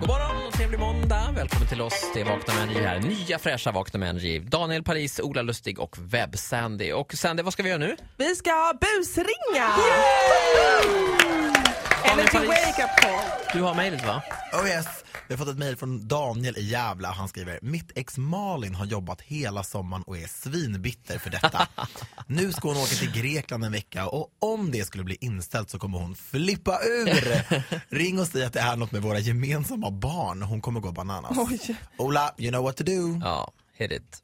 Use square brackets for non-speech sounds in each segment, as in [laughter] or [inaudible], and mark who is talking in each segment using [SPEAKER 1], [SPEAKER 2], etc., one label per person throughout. [SPEAKER 1] God morgon och trevlig måndag. Välkommen till oss. Det är Vakna med Energy här. Nya fräscha Vakna med Energy. Daniel Paris, Ola Lustig och Webb-Sandy. Och Sandy, vad ska vi göra nu?
[SPEAKER 2] Vi ska busringa!
[SPEAKER 1] Daniel
[SPEAKER 2] Eller till
[SPEAKER 1] Paris.
[SPEAKER 2] wake up call.
[SPEAKER 1] Du har mejlet va?
[SPEAKER 3] Oh yes. Vi har fått ett mejl från Daniel i Gävle. Han skriver Mitt ex Malin har jobbat hela sommaren och är svinbitter för detta. nu ska hon åka till Grekland en vecka och om det skulle bli inställt så kommer hon flippa ur. Ring och säg att det är något med våra gemensamma barn. Hon kommer gå bananas.
[SPEAKER 2] Oj.
[SPEAKER 3] Ola, you know what to do.
[SPEAKER 1] Ja, hit it.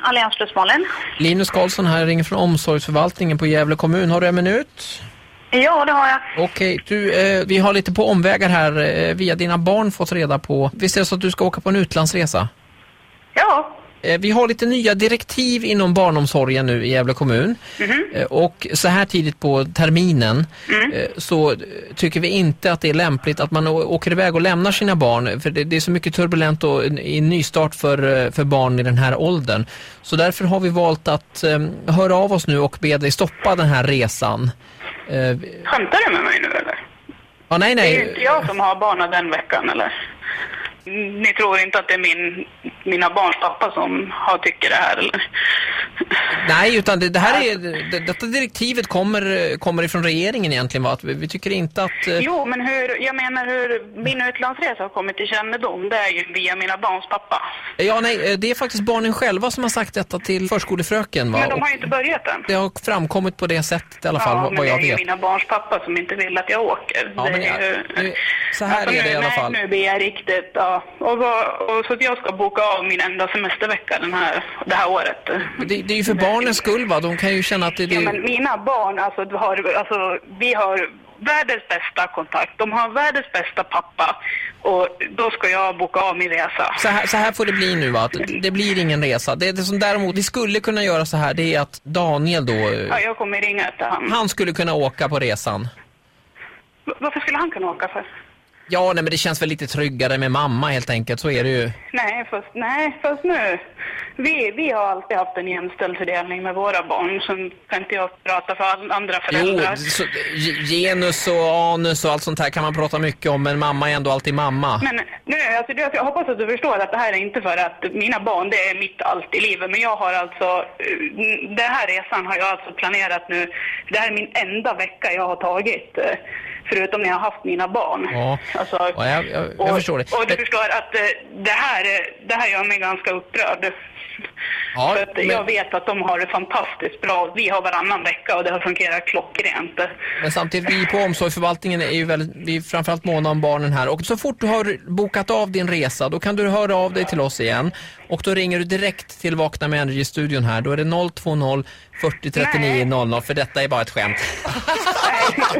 [SPEAKER 4] Allians plus Malin.
[SPEAKER 1] Linus Karlsson här ringer från omsorgsförvaltningen på Gävle kommun. Har du en minut?
[SPEAKER 4] Ja, det har jag.
[SPEAKER 1] Okej, du, eh, vi har lite på omvägar här eh, via dina barn fått reda på. Visst är det så att du ska åka på en utlandsresa?
[SPEAKER 4] Ja.
[SPEAKER 1] Eh, Vi har lite nya direktiv inom barnomsorgen nu i Gävle kommun.
[SPEAKER 4] Mhm.
[SPEAKER 1] Eh, Och så här tidigt på terminen
[SPEAKER 4] Mm.
[SPEAKER 1] eh, så eh, tycker vi inte att det är lämpligt att man å- åker iväg och lämnar sina barn. För det, det är så mycket turbulent och en- i nystart för, eh, för barn i den här åldern. Så därför har vi valt att eh, höra av oss nu och be dig stoppa den här resan. Eh, vi-
[SPEAKER 4] Skämtar du med mig nu eller?
[SPEAKER 1] Ja, nej,
[SPEAKER 4] Det är ju
[SPEAKER 1] nej.
[SPEAKER 4] inte jag som har barnen den veckan eller? Ni tror inte att det är min, mina barns pappa som har tycker det här eller?
[SPEAKER 1] Nej, utan det, det här är, det, detta direktivet kommer, eh, kommer ifrån regeringen egentligen. Va? Att vi, vi tycker inte att... eh,
[SPEAKER 4] Jo, men hur, jag menar hur min utlandsresa har kommit till kännedom, det är ju via mina barns pappa.
[SPEAKER 1] Ja, nej, eh, det är faktiskt barnen själva som har sagt detta till förskolefröken. Va?
[SPEAKER 4] Men de
[SPEAKER 1] Och
[SPEAKER 4] har ju inte börjat än.
[SPEAKER 1] det har framkommit på det sättet i alla fall,
[SPEAKER 4] ja,
[SPEAKER 1] vad-
[SPEAKER 4] men
[SPEAKER 1] vad jag
[SPEAKER 4] det är ju
[SPEAKER 1] vet.
[SPEAKER 4] mina barns pappa som inte vill att jag åker.
[SPEAKER 1] Ja,
[SPEAKER 4] Det
[SPEAKER 1] men
[SPEAKER 4] är
[SPEAKER 1] jag-
[SPEAKER 4] ju- Alltså,
[SPEAKER 1] nu- så här är det
[SPEAKER 4] nu,
[SPEAKER 1] i alla
[SPEAKER 4] nej,
[SPEAKER 1] fall.
[SPEAKER 4] nu blir jag riktigt... Ja. Och, vad, och så att jag ska boka av min enda semestervecka den här, det här året.
[SPEAKER 1] Det, det är ju för barnens skull, va? de kan ju känna att det, det
[SPEAKER 4] Ja,
[SPEAKER 1] är...
[SPEAKER 4] men mina barn, alltså, du har, alltså vi har världens bästa kontakt. De har världens bästa pappa. Och då ska jag boka av min resa.
[SPEAKER 1] Så här, så här får det bli nu, va? Att det- det blir ingen resa. Det, det som däremot vi skulle kunna göra så här, det är att Daniel då, eh,
[SPEAKER 4] Ja, jag kommer ringa efter han.
[SPEAKER 1] han skulle kunna åka på resan.
[SPEAKER 4] V- Varför skulle han kunna åka för?
[SPEAKER 1] Ja, nej, men det känns väl lite tryggare med mamma helt enkelt, så är det ju.
[SPEAKER 4] Nej, fast, nej, fast nu. Vi, vi har alltid haft en jämställd fördelning med våra barn. Sen kan inte jag prata för all, andra
[SPEAKER 1] Jo,
[SPEAKER 4] föräldrar.
[SPEAKER 1] så, ge- genus och anus och allt sånt här kan man prata mycket om, men mamma är ändå alltid mamma.
[SPEAKER 4] Men nu, alltså, du, jag hoppas att du förstår att det här är inte för att mina barn, det är mitt allt i livet. Men jag har alltså, eh, den här resan har jag alltså planerat nu. Det här är min enda vecka jag har tagit. eh, Förutom när jag har haft mina barn.
[SPEAKER 1] Ja.
[SPEAKER 4] Alltså,
[SPEAKER 1] Ja, jag- jag- jag
[SPEAKER 4] och,
[SPEAKER 1] förstår det.
[SPEAKER 4] Och du
[SPEAKER 1] Men-
[SPEAKER 4] förstår att eh, det här, eh, det här gör mig ganska upprörd.
[SPEAKER 1] Ja,
[SPEAKER 4] För att
[SPEAKER 1] men-
[SPEAKER 4] Jag vet att de har det fantastiskt bra. Vi har varannan vecka och det har fungerat klockrent.
[SPEAKER 1] Men samtidigt, vi på omsorgsförvaltningen är ju väldigt, vi är framförallt måna om barnen här. Och så fort du har bokat av din resa, då kan du höra av dig till oss igen. Och då ringer du direkt till Vakna med Energy-studion här. Då är det 020 40 39 00, för detta är bara ett skämt.
[SPEAKER 4] [laughs]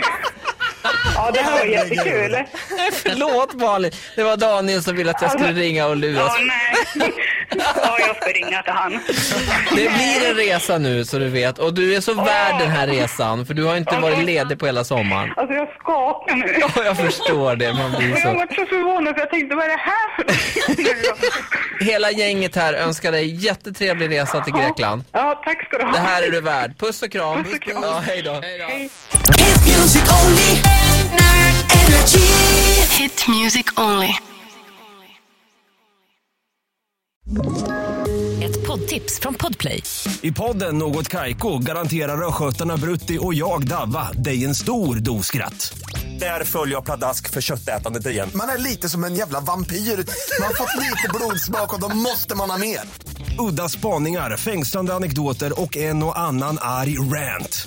[SPEAKER 4] Ja, det här var jättekul.
[SPEAKER 1] Förlåt Malin, det var Daniel som ville att jag skulle ringa och lura
[SPEAKER 4] Ja,
[SPEAKER 1] oss.
[SPEAKER 4] nej. Ja, jag ska ringa till han.
[SPEAKER 1] Det blir en resa nu så du vet. Och du är så värd den här resan, för du har inte varit ledig på hela sommaren.
[SPEAKER 4] Alltså, jag skakar nu.
[SPEAKER 1] Ja, jag förstår det. Man blir
[SPEAKER 4] Jag har
[SPEAKER 1] så.
[SPEAKER 4] varit så förvånad för jag tänkte, vad är det här för
[SPEAKER 1] Hela gänget här önskar dig jättetrevlig resa till Grekland.
[SPEAKER 4] Ja, tack ska du ha.
[SPEAKER 1] Det här är du värd. Puss och kram.
[SPEAKER 4] Puss och kram.
[SPEAKER 1] Ja, hej då.
[SPEAKER 5] Hit music only. Energy.
[SPEAKER 6] Hit music only.
[SPEAKER 7] Ett poddtips från Podplay.
[SPEAKER 8] I podden Något Kaiko garanterar östgötarna Brutti och jag, Davva, dig en stor dos skratt. Där följer jag pladask för köttätandet igen.
[SPEAKER 3] Man är lite som en jävla vampyr. Man har fått lite blodsmak och då måste man ha mer.
[SPEAKER 8] Udda spaningar, fängslande anekdoter och en och annan arg rant.